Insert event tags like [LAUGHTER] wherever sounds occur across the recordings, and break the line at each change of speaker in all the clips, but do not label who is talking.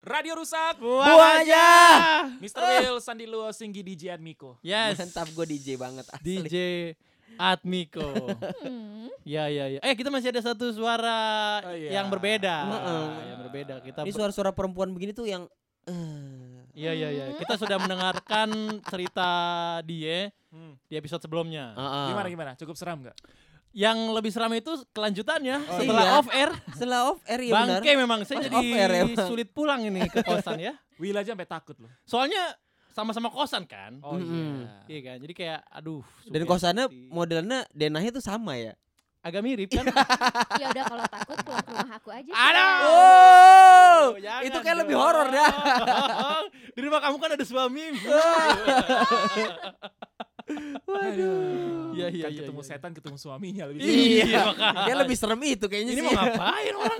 Radio Rusak,
Buah aja.
Mr. Will, Sandi Luo, Singgi DJ Admiko.
Yes.
Mantap gue DJ banget asli.
DJ Atmiko. ya ya ya. Eh kita masih ada satu suara
Oh, iya.
yang berbeda. Iya,
Heeh.
Yang berbeda. Kita
Ini
ber-
suara-suara perempuan begini tuh yang eh,
Iya iya iya. Kita sudah mendengarkan cerita dia
Hmm.
di episode sebelumnya.
ah, ah.
Gimana gimana? Cukup seram nggak?
Yang lebih seram itu kelanjutannya
Oh,
setelah
iya.
off air.
Setelah off air ya benar.
Bangke memang saya
Off air ya,
jadi
Bang.
sulit pulang ini ke kosan ya.
Will aja sampai takut loh.
Soalnya sama-sama kosan kan.
Oh
Mm-mm.
iya.
Iya kan. Jadi kayak aduh.
Dan
supir
kosannya
hati.
modelnya denahnya tuh sama ya.
agak mirip
[LAUGHS]
kan.
Ya udah kalau takut pulang ke rumah aku aja.
Ada.
Oh,
Jangan
itu kayak lebih
dong.
horor dah.
[LAUGHS] Di rumah kamu kan ada suami.
Waduh.
Iya, iya,
kan
iya,
ketemu
iya.
setan ketemu suaminya lebih.
Iya, makanya.
Kayak lebih serem itu kayaknya
Ini
Iya sih.
mau ngapain orang?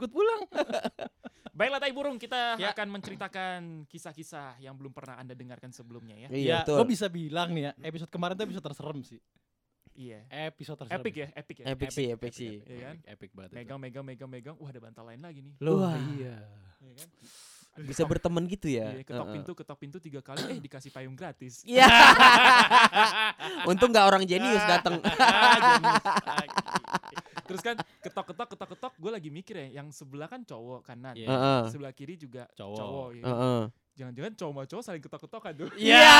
Ikut pulang.
[LAUGHS] Baiklah Tai Burung, kita
Ya.
akan menceritakan kisah-kisah yang belum pernah Anda dengarkan sebelumnya ya.
Iya,
gue
betul.
bisa bilang nih ya, episode kemarin tuh episode terserem sih.
Iya.
Episode terserem.
Epic ya, epic ya.
Epic sih, epic sih.
Iya kan?
Epic, epic banget. itu.
Megang, megang, megang, megang. Wah ada bantal lain lagi nih.
Loh,
Wah.
iya.
Iya kan?
Bisa
Ketok-
berteman gitu ya.
Iya, ketok
Heeh.
pintu, ketok pintu tiga kali. Eh dikasih payung
[CLEARS THROAT]
gratis.
Iya. [LAUGHS] Untung nggak orang jenius datang.
Ah, jenis lagi.
Terus kan ketok-ketok, ketok-ketok. Gue lagi mikir ya, yang sebelah kan cowok kanan.
Iya.
Heeh.
Sebelah kiri juga
Cowok.
cowok. ya.
Heeh.
Jangan-jangan cowok sama cowok saling ketok-ketokan
[LAUGHS]
tuh.
Iya.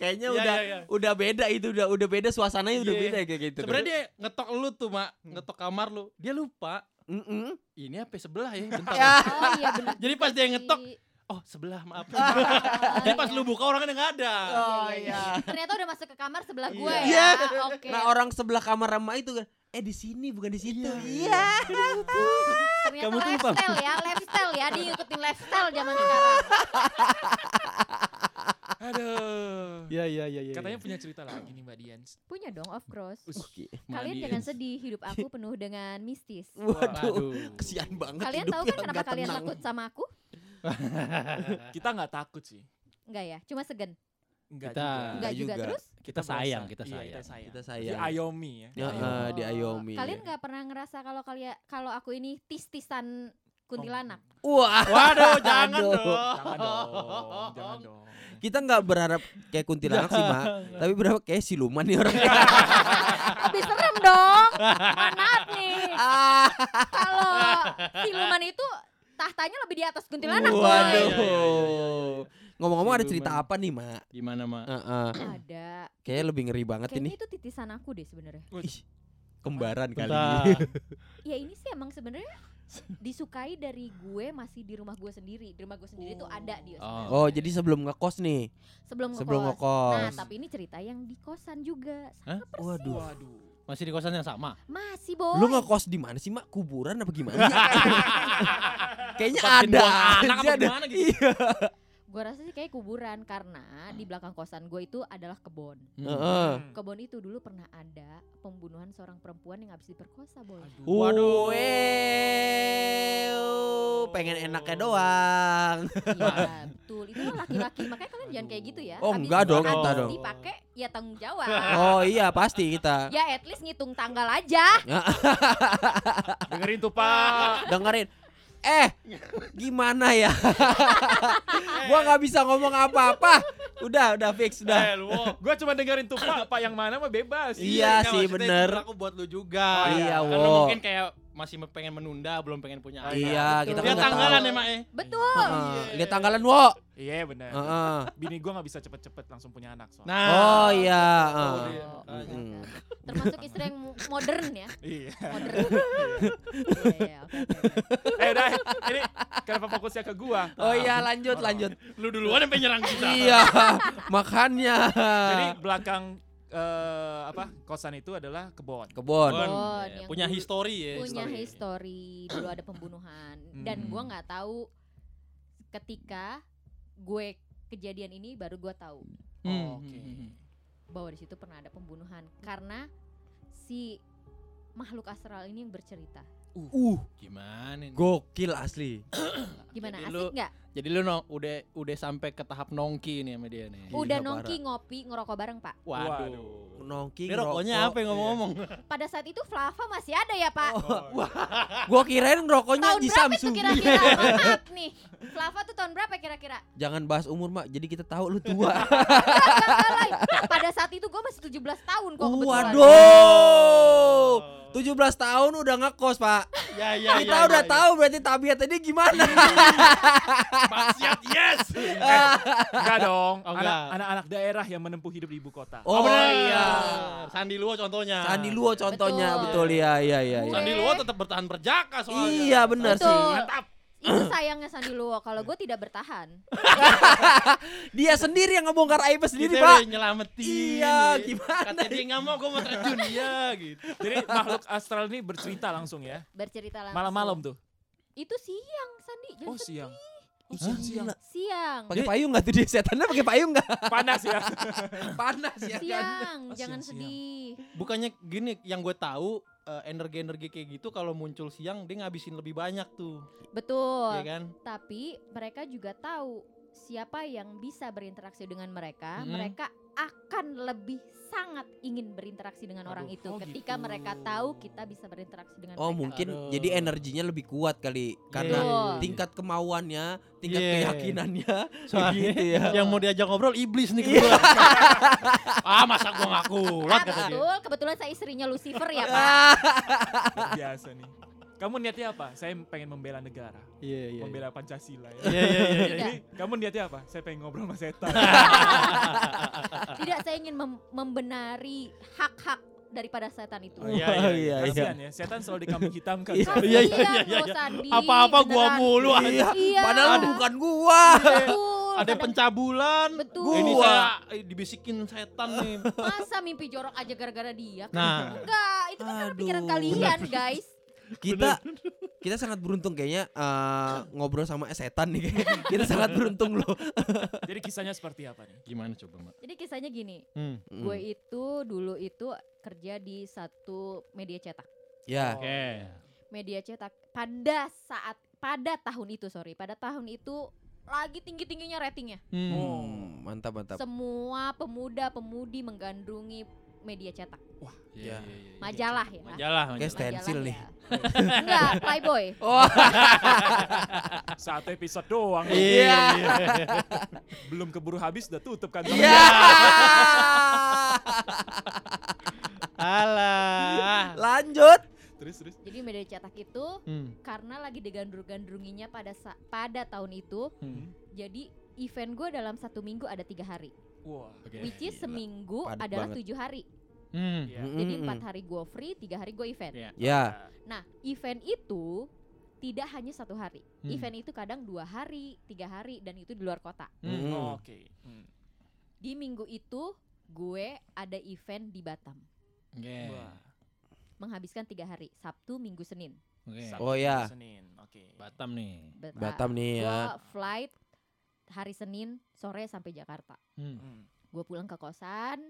Kayaknya
Iya,
udah
iya, iya.
udah beda itu udah udah beda suasananya udah
Iya.
beda kayak gitu.
Sebenarnya dia ngetok lu tuh, Mak.
Hmm.
Ngetok kamar lu. Dia lupa.
Mm-mm.
Ini apa sebelah
[LAUGHS]
ya? Bentar.
Ya.
Oh iya benar.
Jadi pas dia ngetok, oh sebelah maaf. [LAUGHS] Jadi
iya,
pas lu buka orangnya nggak ada.
Ah. Oh,
Ternyata udah masuk ke kamar sebelah gue
Iya.
ya.
Iya.
Oke.
Nah, orang sebelah kamar Rama itu kan eh di sini bukan di situ. Iya.
Ternyata
Kamu tuh, Bang.
lifestyle ya, lifestyle ya, diikutin lifestyle zaman sekarang.
Aduh.
Iya iya iya. iya,
Katanya
iya.
punya cerita lagi nih Mbak Dian.
Punya dong, of course.
Us.
Kalian
Mandi.
jangan sedih, hidup aku penuh dengan mistis.
Waduh.
Waduh.
Kesian banget
Kalian
hidupnya
tahu kan kenapa
nggak
kalian
tenang.
takut sama aku?
Ah.
Kita nggak takut sih.
Enggak ya, cuma segen.
Nah,
Enggak
Kita-
juga.
Enggak juga.
juga.
terus?
Kita
merasa-
sayang, kita
iya,
sayang.
Kita sayang.
Kita
Di
sayang.
Ayomi ya.
Ya, eh, di
Oh,
Ayomi.
Kalian nggak pernah ngerasa kalau kalian kalau aku ini tis-tisan
Oh.
kuntilanak?
Wah,
Waduh, jangan
Aduh.
dong. [LAUGHS]
Jangan dong, jangan dong.
kita nggak berharap kayak kuntilanak sih, Mak. Tapi berharap kayak siluman nih [LAUGHS] orang.
Lebih serem dong. Mohon maaf nih.
Ah,
Kalau
[LAUGHS]
siluman itu tahtanya lebih di atas kuntilanak, boy.
Iya,
Waduh.
iya, iya,
Ngomong-ngomong ada
Siluman.
cerita apa nih, Mak?
Gimana, Mak?
Heeh.
Ada.
Kayaknya lebih ngeri banget
Kayaknya
ini.
itu titisan aku deh sebenarnya.
Ih, kembaran kali.
Bentar. [LAUGHS]
Ya ini sih emang sebenarnya disukai dari gue masih di rumah gue sendiri. Di rumah gue sendiri tuh ada dia sebenarnya.
[LAUGHS] Oh, jadi sebelum ngekos nih.
sebelum ngekos.
Sebelum
Nah,
ngekos.
tapi ini cerita yang di kosan juga.
Waduh.
Waduh.
Masih di kosan yang sama?
Masih,
Oh.
Boy.
Lu ngekos di mana sih, Mak? Kuburan apa gimana? Iya kan?
[LAUGHS]
Kayaknya
Tempat
ada.
buang anak
aja
apa
ada.
gimana gitu?
Iya.
Gue rasa sih kayak kuburan karena
Hmm.
di belakang kosan gue itu adalah kebon.
Hmm.
Heeh.
Hmm.
Kebon itu dulu pernah ada pembunuhan seorang perempuan yang habis diperkosa, Boy.
Aduh.
Waduh.
Wew, pengen enaknya doang.
Iya, betul. Itu kan laki-laki, makanya kalian jangan kayak gitu ya.
Oh, enggak dong,
dimakan,
enggak
terus
dong.
Dipakai ya tanggung jawab.
[LAUGHS] Oh iya pasti kita.
Ya at least ngitung tanggal aja.
Dengerin tuh,
[LAUGHS]
Pak.
Dengerin. Eh, gimana ya? [LAUGHS] gua nggak bisa ngomong apa-apa. Udah, udah fix, udah.
Eh, lu. Wo.
Gua cuma dengerin tuh, Pak. Pak yang mana mah bebas.
Iya
nggak, maksudnya
sih,
itu
bener.
Aku buat lu juga.
Oh, iya,
Karena
Wo.
mungkin kayak masih pengen menunda, belum pengen punya anak.
Iya,
Dia
kita kan nggak tahu.
tanggalan ya, Mak eh.
Betul.
Heeh, Lihat tanggalan, Wo.
Iya, benar.
Heeh.
Bini gua nggak bisa cepet-cepet langsung punya anak soalnya.
Nah.
Oh iya.
Oh,
heeh.
dia.
Mm-mm.
Termasuk istri yang modern ya.
Iya.
Modern.
[LAUGHS]
Iya, iya, oke, oke, oke.
eh udah, ini kenapa fokusnya ke gua?
Oh iya, lanjut, lanjut.
Lu duluan yang pengen nyerang kita.
Iya, makanya.
Jadi belakang eh, apa kosan itu adalah kebon.
kebon.
Bon.
Bon, yang
Punya
dulu-
histori ya.
Punya
history.
history dulu ada pembunuhan dan
Hmm.
gua nggak tahu ketika gue kejadian ini baru gua tahu
Hmm.
Oke.
bahwa di situ pernah ada pembunuhan karena si makhluk astral ini yang bercerita.
Uh,
Gimana? nih?
gokil asli.
Gimana
Jadi
asik nggak?
Jadi lu no, udah udah sampai ke tahap nongki nih sama dia nih.
Iya,
Udah
parah.
nongki ngopi ngerokok bareng pak.
Waduh.
Nongki
Ini rokoknya
[LAUGHS]
apa yang
Iya.
ngomong-ngomong?
Pada saat itu Flava masih ada
Oh,
ya pak.
Wah.
Gua kirain rokoknya
tahun
di
berapa itu
Samsung.
[LAUGHS]
kira-kira? Mohon Maaf nih, Flava tuh tahun berapa kira-kira?
[LAUGHS] Jangan bahas umur, Mak. Jadi kita tahu lu tua.
[LAUGHS]
Alay, Pada saat itu gue masih 17 tahun kok kebetulan.
Oh. Waduh. 17 tahun udah ngekos, Pak.
Oh. Ya ya
Kita udah tahu berarti tabiatnya dia gimana.
Maksiat yes.
[LAUGHS]
Eh,
Iya.
enggak dong.
Oh,
Anak-
enggak.
Anak-anak daerah yang menempuh hidup di ibu kota.
Oh,
Oh,
bener.
iya.
Sandi Luo contohnya.
Sandi Luo contohnya betul,
Betul.
ya iya iya iya.
Sandi Luo tetap bertahan perjaka soalnya.
Iya, benar
Betul.
sih.
Mantap.
Itu sayangnya Sandi Luo, kalau gue tidak bertahan.
Dia sendiri yang ngebongkar
Kita
aibnya sendiri,
udah
Pak.
nyelamatin.
Iya, gimana
Kata dia nggak mau, gue mau terjun. Iya, gitu.
Jadi makhluk astral ini bercerita langsung ya.
Bercerita langsung.
Malam-malam tuh.
Itu siang Sandi, jangan
Oh
sedih.
siang. Oh,
Hah?
siang-siang.
Gila.
Siang.
Pakai payung enggak tuh dia setannya pakai payung enggak?
Panas
[LAUGHS]
ya.
[LAUGHS] Panas ya kan.
Siang,
Oh,
jangan
siang-siang.
sedih.
Bukannya gini, yang gue tahu eh, energi-energi kayak gitu kalau muncul siang dia ngabisin lebih banyak tuh,
Betul.
ya kan?
Tapi mereka juga tahu siapa yang bisa berinteraksi dengan mereka,
Mm-mm.
mereka akan lebih sangat ingin berinteraksi dengan orang
Aduh,
itu
oh
ketika
gitu.
mereka tahu kita bisa berinteraksi dengan
Oh,
mereka.
mungkin
Aduh.
jadi energinya lebih kuat kali karena
Betul.
tingkat kemauannya, tingkat
Iya.
keyakinannya
[LAUGHS] Soalnya
gitu ya.
Iya. yang mau diajak ngobrol iblis nih
Iya.
kedua. ah masa gue ngaku kuat
Ah,
kata dia.
betul, kebetulan saya istrinya Lucifer
[LAUGHS]
ya, Pak.
Ah,
Biasa nih. Kamu niatnya apa? Saya pengen membela negara,
Iya iya.
membela Pancasila. Ya.
Iya iya iya, iya.
Ini kamu niatnya apa? Saya pengen ngobrol sama
[LAUGHS]
setan.
Tidak, saya ingin mem- membenari hak-hak daripada setan itu.
Oh, iya, iya, iya.
Kasihan ya, setan selalu
[LAUGHS]
dikambing hitam kan.
Iya,
iya,
Iya,
iya, iya, iya.
Sandi.
Apa-apa gua
beneran.
mulu.
iya.
Iya.
Padahal bukan gua.
Betul.
Ada
kadang-
pencabulan.
Betul.
Ini
Gua.
saya eh, dibisikin setan
[LAUGHS]
nih.
Masa mimpi jorok aja gara-gara dia? kan?
Nah.
Enggak, itu kan karena pikiran
Aduh. [LAUGHS]
kalian, guys.
Kita kita sangat beruntung kayaknya eh, ngobrol sama setan nih.
[LAUGHS]
kayaknya. kita sangat beruntung loh.
Jadi kisahnya seperti apa nih?
Gimana coba mak?
Jadi kisahnya gini,
Hmm.
gue itu dulu itu kerja di satu media cetak.
Ya.
Oke.
Media cetak pada saat pada tahun itu, sorry, pada tahun itu lagi tinggi-tingginya ratingnya.
Hmm.
Hmm, mantap mantap.
Semua pemuda-pemudi menggandrungi media cetak. Nah,
Iya, iya,
Ya.
iya, iya.
Majalah ya.
Majalah.
Oke,
majalah.
Stan. Stensil
Majalah
nih.
ya. Enggak, Playboy.
Oh,
Satu episode doang.
[LAUGHS]
Iya.
Belum keburu habis udah tutup kan.
[LAUGHS]
iya.
Alah.
Lanjut.
Terus terus.
Jadi media cetak itu
Hmm.
karena lagi digandrung-gandrunginya pada sa- pada tahun itu,
Hmm.
jadi event gue dalam satu minggu ada tiga hari,
Wah.
Oke.
which is
gila.
seminggu
Padat
adalah
banget.
tujuh hari.
Hmm.
Iya.
Mm,
Jadi
mm,
empat
mm.
hari gue free, tiga hari gue event.
Iya.
Ya.
Nah, event itu tidak hanya satu hari.
Hmm.
Event itu kadang dua hari, tiga hari, dan itu di luar kota.
Hmm.
Mm.
Oke. Hmm.
Di minggu itu gue ada event di Batam,
Oke.
Eh,
Wah.
menghabiskan tiga hari, Sabtu, Minggu, Senin.
Oke.
Sabtu,
Oh, ya.
Senin. Oke.
Batam nih.
Bet-
Batam nih ya.
Gua flight hari Senin sore sampai Jakarta.
Hmm.
Hmm.
Gue pulang ke kosan.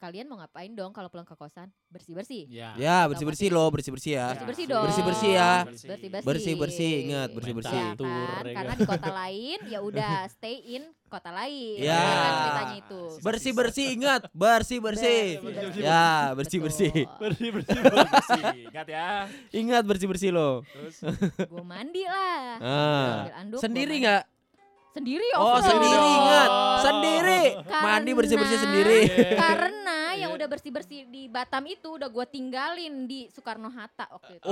Kalian mau ngapain dong kalau pulang ke kosan? Bersih-bersih.
Ya.
Ya, bersih-bersih loh,
Iya.
bersih-bersih ya.
Bersih-bersih dong.
Bersih-bersih ya.
Bersih-bersih.
Bersih-bersih, ingat, bersih-bersih.
Ya kan?
Tur, ya
Karena
kan?
di kota lain ya
[LAUGHS]
udah stay in kota lain.
Ya.
kan ceritanya itu.
Bersih-bersih ingat, bersih-bersih.
Bersih-bersih.
Ya, bersih-bersih. [LAUGHS]
Betul.
Bersih bersih.
Bersih. Ingat ya.
Ingat bersih-bersih loh. [LAUGHS]
Terus.
Gue mandi
Ah.
lah. Ambil anduk, gua
Sendiri
mandi.
nggak?
Sendiri
Oh,
of course.
sendiri ingat.
Oh.
Sendiri.
Karena-
Mandi bersih-bersih sendiri.
Iya.
Karena
[LAUGHS]
yang
Iya.
udah bersih-bersih di Batam itu udah gue tinggalin di Soekarno-Hatta waktu itu.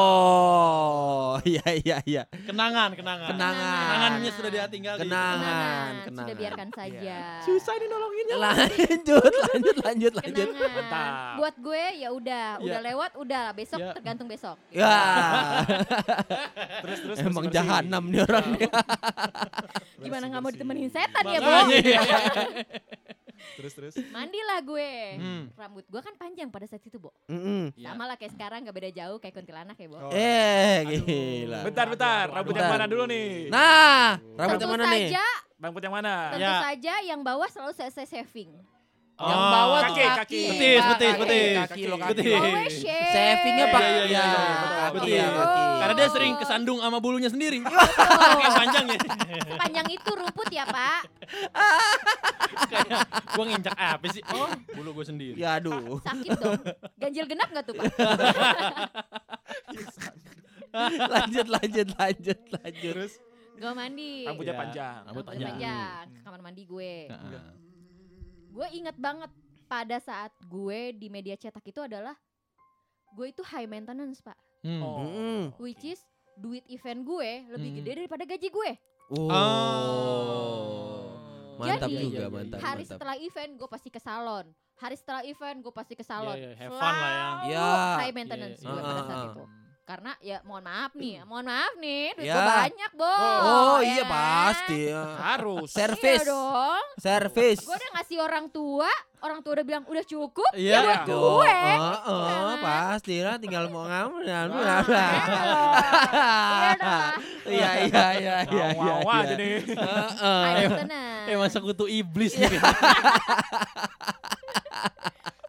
Oh. Iya, iya, iya.
Kenangan, kenangan.
Kenangan.
Kenangannya sudah dia tinggal
Kenang-
Kenangan,
kenangan. Iya.
sudah biarkan saja.
Susah ini nolonginnya.
Lanjut, lanjut, lanjut, lanjut.
Kenangan.
Iya.
Mantap.
Buat gue ya udah, udah
Ya.
lewat, udah besok
Ya.
tergantung besok.
Ya.
Terus terus.
Emang
bersih-bersih.
jahanam nih orang.
Gimana nggak mau
Bersih-bersih.
ditemenin setan ya, Bo?
Makanya. [LAUGHS]
Terus terus.
Mandilah gue.
Hmm.
Rambut gue kan panjang pada saat itu, Bo.
Mm-mm.
Ya.
Sama lah kayak sekarang gak beda jauh kayak kuntilanak ya, Bo.
Oh.
Eh,
Aduh.
gila.
Bentar bentar.
Aduh,
Rambut
aduh,
yang
aduh.
mana dulu nih?
Nah,
Aduh.
rambut
tentu
yang mana nih?
saja,
Rambut yang mana?
tentu
Ya.
saja yang bawah selalu saya, saya shaving.
Yang
Ah.
bawah tuh
Kaki,
kaki.
kaki.
Betis, betis,
kaki,
betis.
Kaki, lo kaki.
Betis.
Always share.
Savingnya pak.
Iya, iya, iya, iya,
Ya,
betul,
kaki,
betul.
ya, kaki.
Karena dia sering kesandung sama bulunya
[LAUGHS]
sendiri. Kayak panjang ya.
Sepanjang itu rumput ya pak.
Kayak gua nginjak apa sih? Oh, bulu gua sendiri.
Ya aduh. [LAUGHS]
Sakit dong. Ganjil genap nggak tuh pak?
lanjut lanjut lanjut lanjut.
Terus
Gue mandi.
rambutnya
Iya.
panjang.
Rambut
Rambutnya
panjang.
panjang. Ke kamar mandi gue.
Nah.
Gue inget banget pada saat gue di media cetak itu adalah gue itu high maintenance pak.
Hmm.
Oh.
Mm.
oke.
Which is duit event gue lebih
Hmm.
gede daripada gaji gue.
Oh.
Oh.
Mantap
Jadi,
juga, mantap.
Hari setelah event gue pasti ke salon. Hari setelah event gue pasti ke salon.
Iya, iya, have fun lah ya.
Selalu
Iya.
High maintenance
Iya,
gue
iya.
pada
Ah,
saat
ah,
itu. Karena ya mohon maaf
Hmm.
nih, mohon maaf nih, duit
Ya.
gue banyak, Bo.
Oh,
ya
iya
kan?
pasti. ya. [LAUGHS]
Harus.
Ser-
Iya
Service.
dong.
Service.
Gue udah ngasih orang tua, orang tua udah bilang udah cukup.
Iya.
Ya buat gue.
Oh, oh,
Kan?
pasti lah tinggal mau ngamen ngamen
Wah.
ngamen. Oh.
Iya dong.
[LAUGHS] Iya iya iya iya. iya,
Wah, wah
iya.
aja nih.
[LAUGHS] Heeh.
High
Eh,
maintenance.
Eh, masa kutu iblis
gitu.
nih.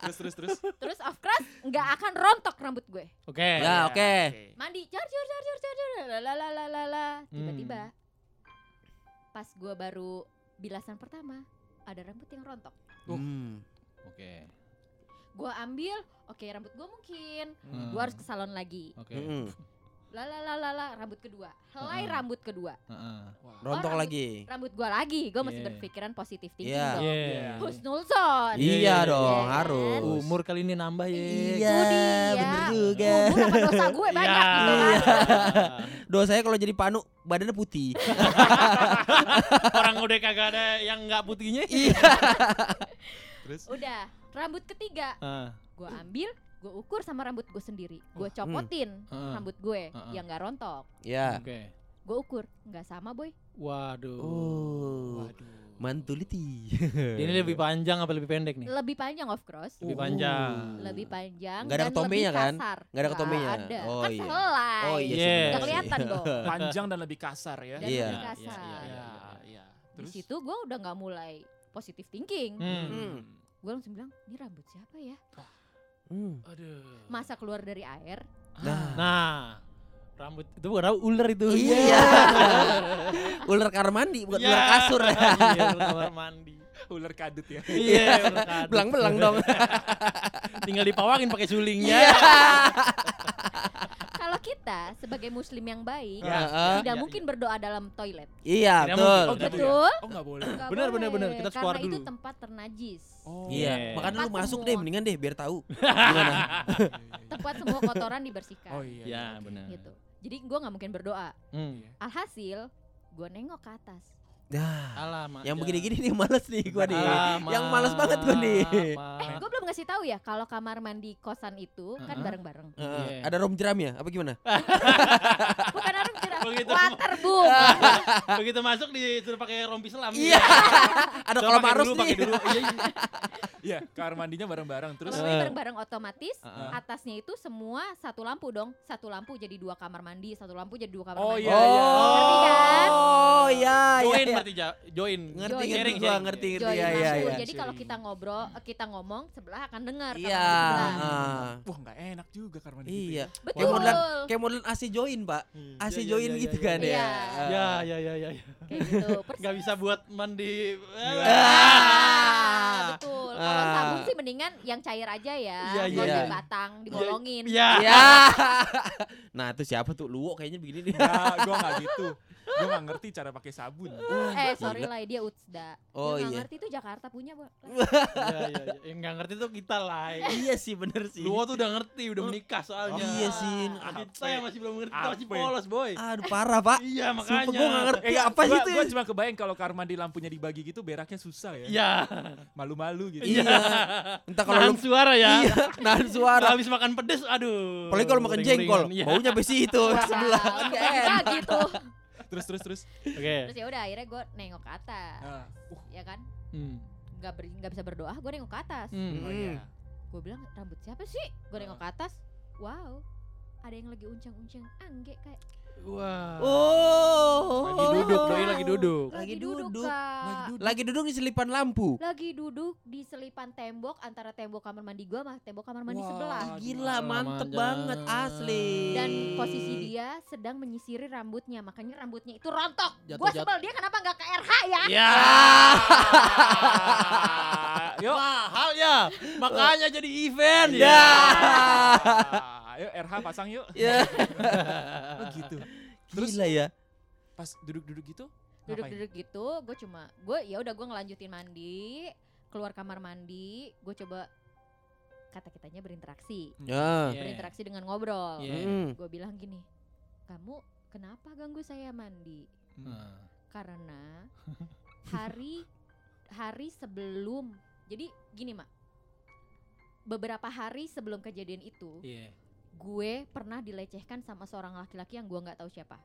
Terus terus terus.
Terus of course nggak akan rontok rambut gue.
[LAUGHS] Oke.
Iya,
Ya, oke.
Mandi, jar jar jar jar jar jar lalalala. Tiba-tiba
Hmm.
pas gue baru bilasan pertama ada rambut yang rontok.
Hmm.
Oke.
Gue ambil, oke rambut gue mungkin.
Hmm.
Gue harus ke salon lagi.
Oke.
Mm-mm.
Lalalala rambut kedua,
Hmm.
helai
Heeh.
rambut kedua.
Heeh.
Wah.
Rontok
Oh, rambut-
lagi.
Rambut gue lagi, gue masih
Yeah.
berpikiran positif thinking
Yeah.
dong.
Yeah.
Husnul Zon.
Iya,
Iya
iya,
iya
dong,
kan?
harus.
Umur kali ini nambah ya.
Iya,
dia.
bener juga.
Umur apa dosa gue banyak gitu kan.
Iya. Dosanya kalau jadi panu badannya [LAUGHS] putih.
[LAUGHS] Orang udah kagak ada yang nggak putihnya.
Iya.
Terus.
Udah, rambut ketiga
Ah,
gue ambil, gue ukur sama rambut gue sendiri. Gue
Hmm.
copotin
Heeh.
rambut gue
Heeh.
yang nggak rontok.
Ya.
Oke.
Gue ukur, nggak sama boy.
Waduh.
Oh. Mantuliti.
Ini lebih panjang apa lebih pendek nih?
Lebih panjang of course.
Lebih panjang.
Oh.
Lebih panjang
Nggak ada
dan
ketombenya
lebih
kan?
kasar.
Nggak ada ketombenya.
ada.
Oh,
kan
iya.
sehelai.
Oh iya.
Yes.
sih, bener
Nggak
sih.
kelihatan
[LAUGHS]
dong.
Panjang dan lebih kasar ya.
Dan
Iya.
lebih
Iya,
kasar.
iya,
Iya, iya.
Di
Terus.
situ gue udah nggak mulai positive thinking.
Hmm.
Hmm.
Gue langsung bilang, ini rambut siapa ya?
Hmm.
Aduh.
Masa keluar dari air?
Nah.
Nah, rambut itu bukan rambut ular itu.
Iya. [LAUGHS] ular kamar mandi bukan ular
Iya.
kasur.
Iya, ular kamar mandi.
ular kadut ya.
Iya, ular kadut.
Belang-belang
[LAUGHS]
dong.
Iya. Tinggal dipawangin pakai
Iya.
sulingnya.
Kalau kita sebagai muslim yang baik,
Ya,
Heeh.
tidak
ya,
mungkin berdoa dalam toilet.
Iya,
Tidak
betul.
mungkin. Oh, gitu ya?
Betul?
[LAUGHS] Oh nggak boleh.
Nggak
Benar, benar,
boleh,
benar. Kita harus keluar
karena
dulu.
itu tempat ternajis.
Oh.
Iya,
Iya.
makanya lu
Tempat
masuk
semua.
deh mendingan deh biar
[LAUGHS]
tahu gimana.
Tempat semua kotoran dibersihkan.
Oh iya.
Iya,
oke.
benar.
Gitu. Jadi gue nggak mungkin berdoa.
Hmm.
Iya.
Alhasil, gue nengok ke atas.
Nah,
Alamak.
yang
ya.
begini-gini nih males nih gua nih.
Alamak.
Yang males banget gua nih.
Eh,
Ah.
gue belum ngasih tahu ya kalau kamar mandi kosan itu kan
Heeh.
[LAUGHS]
bareng-bareng.
Heeh,
Iya.
Ada rom jeram ya? Apa gimana?
Bukan harus jelas.
Oh,
Begitu.
gitu.
Water boom.
Ah.
Begitu masuk disuruh pakai rompi selam.
Iya. [LAUGHS]
ya.
Ada
Coba
kolam
pakai
arus
dulu,
nih. Oh,
pakai dulu. Iya, iya.
Iya, kamar mandinya bareng-bareng terus.
Kamar
Iya.
mandi bareng-bareng otomatis
Ah,
Heeh.
atasnya itu semua satu lampu dong. Satu lampu jadi dua kamar mandi, satu lampu jadi dua kamar
Oh,
mandi.
Iya, iya.
Oh,
Ngerti kan?
Oh, iya, iya.
Join
iya.
berarti ja- join.
Ngerti
Join.
ngerti
Sharing,
gua,
sharing.
ngerti
Join
ngerti. Iya,
lampu.
iya, iya.
Jadi kalau kita ngobrol, eh, kita ngomong sebelah akan dengar kamar
Iya,
mandi sebelah.
heeh.
Wah, nggak enak juga kamar mandi. gitu
Iya.
ya.
Betul.
Kayak modelan, kayak modelan AC join, Pak.
Iya.
AC
Iya, iya,
join
iya,
gitu
iya,
kan
iya.
ya.
Ya, ya, ya, ya. ya.
Kayak gitu.
[LAUGHS]
Persis.
Nggak bisa buat mandi.
Iya.
Ah.
Ah, betul. Kalau
Ah.
sabun sih mendingan yang cair aja ya.
Iya,
Kalau
iya.
jadi batang dibolongin.
Ya.
Iya. [LAUGHS] Nah, itu siapa tuh? Luwo kayaknya begini nih.
Nggak, gua nggak gitu. Gua nggak ngerti cara pakai sabun.
Eh sorry lah dia Utsda.
Oh,
dia nggak
iya. Oh,
ngerti itu Jakarta punya.
[LAUGHS]
Bu.
Iya, iya, iya. Yang nggak ngerti tuh kita lah.
Iya sih, bener sih.
Luwo tuh udah ngerti, udah menikah
Oh,
soalnya.
Iya sih.
Kita yang masih belum ngerti, kita masih
Apa?
polos boy.
Aduh, parah, Pak.
Iya makanya.
ya? Sumpah gue gak ngerti
Eh,
apa
gua,
gitu
Gua cuma kebayang kalau kamar mandi lampunya dibagi gitu beraknya susah ya.
Iya.
Malu-malu gitu.
Iya. Entah kalau
Nahan
lu
suara ya.
iya, nahan
Kalau
suara.
habis makan pedes, aduh.
Apalagi kalau makan
Ring-ringan,
jengkol,
iya.
baunya sampai situ
Wah,
sebelah. [LAUGHS]
aku bangga gitu.
Terus terus terus.
Oke.
Terus ya udah akhirnya gue nengok ke atas,
Ah, uh,
ya kan?
Hmm.
Nggak ber- nggak bisa berdoa, gue nengok ke atas.
Hmm.
oh iya.
Gue bilang rambut siapa sih? Gue nengok ke atas. Wow, ada yang lagi uncang-uncang angge kayak
Wah.
Hmm.
Oh.
Lagi duduk, doi lagi duduk.
lagi,
Lagi
duduk,
duduk,
Kak.
Lagi duduk di selipan lampu.
Lagi duduk di selipan tembok antara tembok kamar mandi gua sama tembok kamar mandi
Wah,
sebelah.
Gila,
Lama
mantep
aja.
banget asli.
Dan posisi dia sedang menyisiri rambutnya, makanya rambutnya itu rontok.
Jatuh-
Gua
jatuh.
sebel dia kenapa nggak ke RH ya?
[LAUGHS]
Ya.
Yuk.
Mahal ya.
[LAUGHS]
Makanya jadi
Iya.
event
Iya.
ya.
Ya.
Ayo RH pasang Ah, yuk.
[LAUGHS] Ya.
Oh gitu. Terus
Gila ya.
pas duduk-duduk gitu ngapain?
Duduk-duduk gitu, gue cuma gue ya udah gue ngelanjutin mandi, keluar kamar mandi, gue coba kata-katanya berinteraksi,
Ya.
Iya.
berinteraksi dengan ngobrol.
Iya.
Mm.
Gue bilang gini, kamu kenapa ganggu saya mandi?
Nah.
karena hari hari sebelum jadi gini mak beberapa hari sebelum kejadian itu
Iya.
gue pernah dilecehkan sama seorang laki-laki yang gue nggak tahu siapa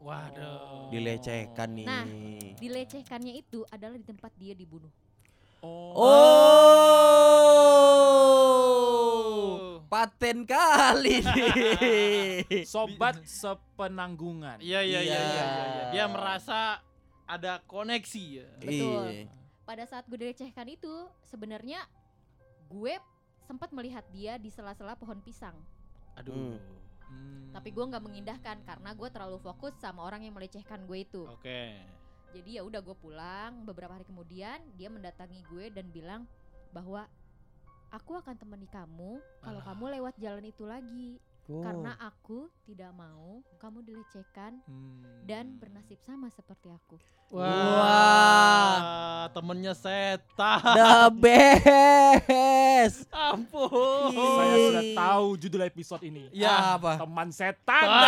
Waduh.
Dilecehkan nih.
Nah. dilecehkannya itu adalah di tempat dia dibunuh
Oh.
Oh. Paten kali nih.
Sobat sepenanggungan.
Iya iya iya
Iya.
iya iya. Dia merasa ada koneksi ya.
Betul.
Iya.
pada saat gue dilecehkan itu sebenarnya gue sempat melihat dia di sela-sela pohon pisang
Aduh.
Hmm.
Hmm.
tapi gue nggak mengindahkan karena gue terlalu fokus sama orang yang melecehkan gue itu
Oke.
Jadi ya udah gue pulang beberapa hari kemudian dia mendatangi gue dan bilang bahwa aku akan temani kamu kalau
Alah.
kamu lewat jalan itu lagi
Oh.
karena aku tidak mau kamu dilecehkan
Hmm.
dan bernasib sama seperti aku.
Wah.
Wah.
Temennya setan.
the best.
Ampun.
Saya sudah tahu judul episode ini.
Ya.
apa?
Teman setan.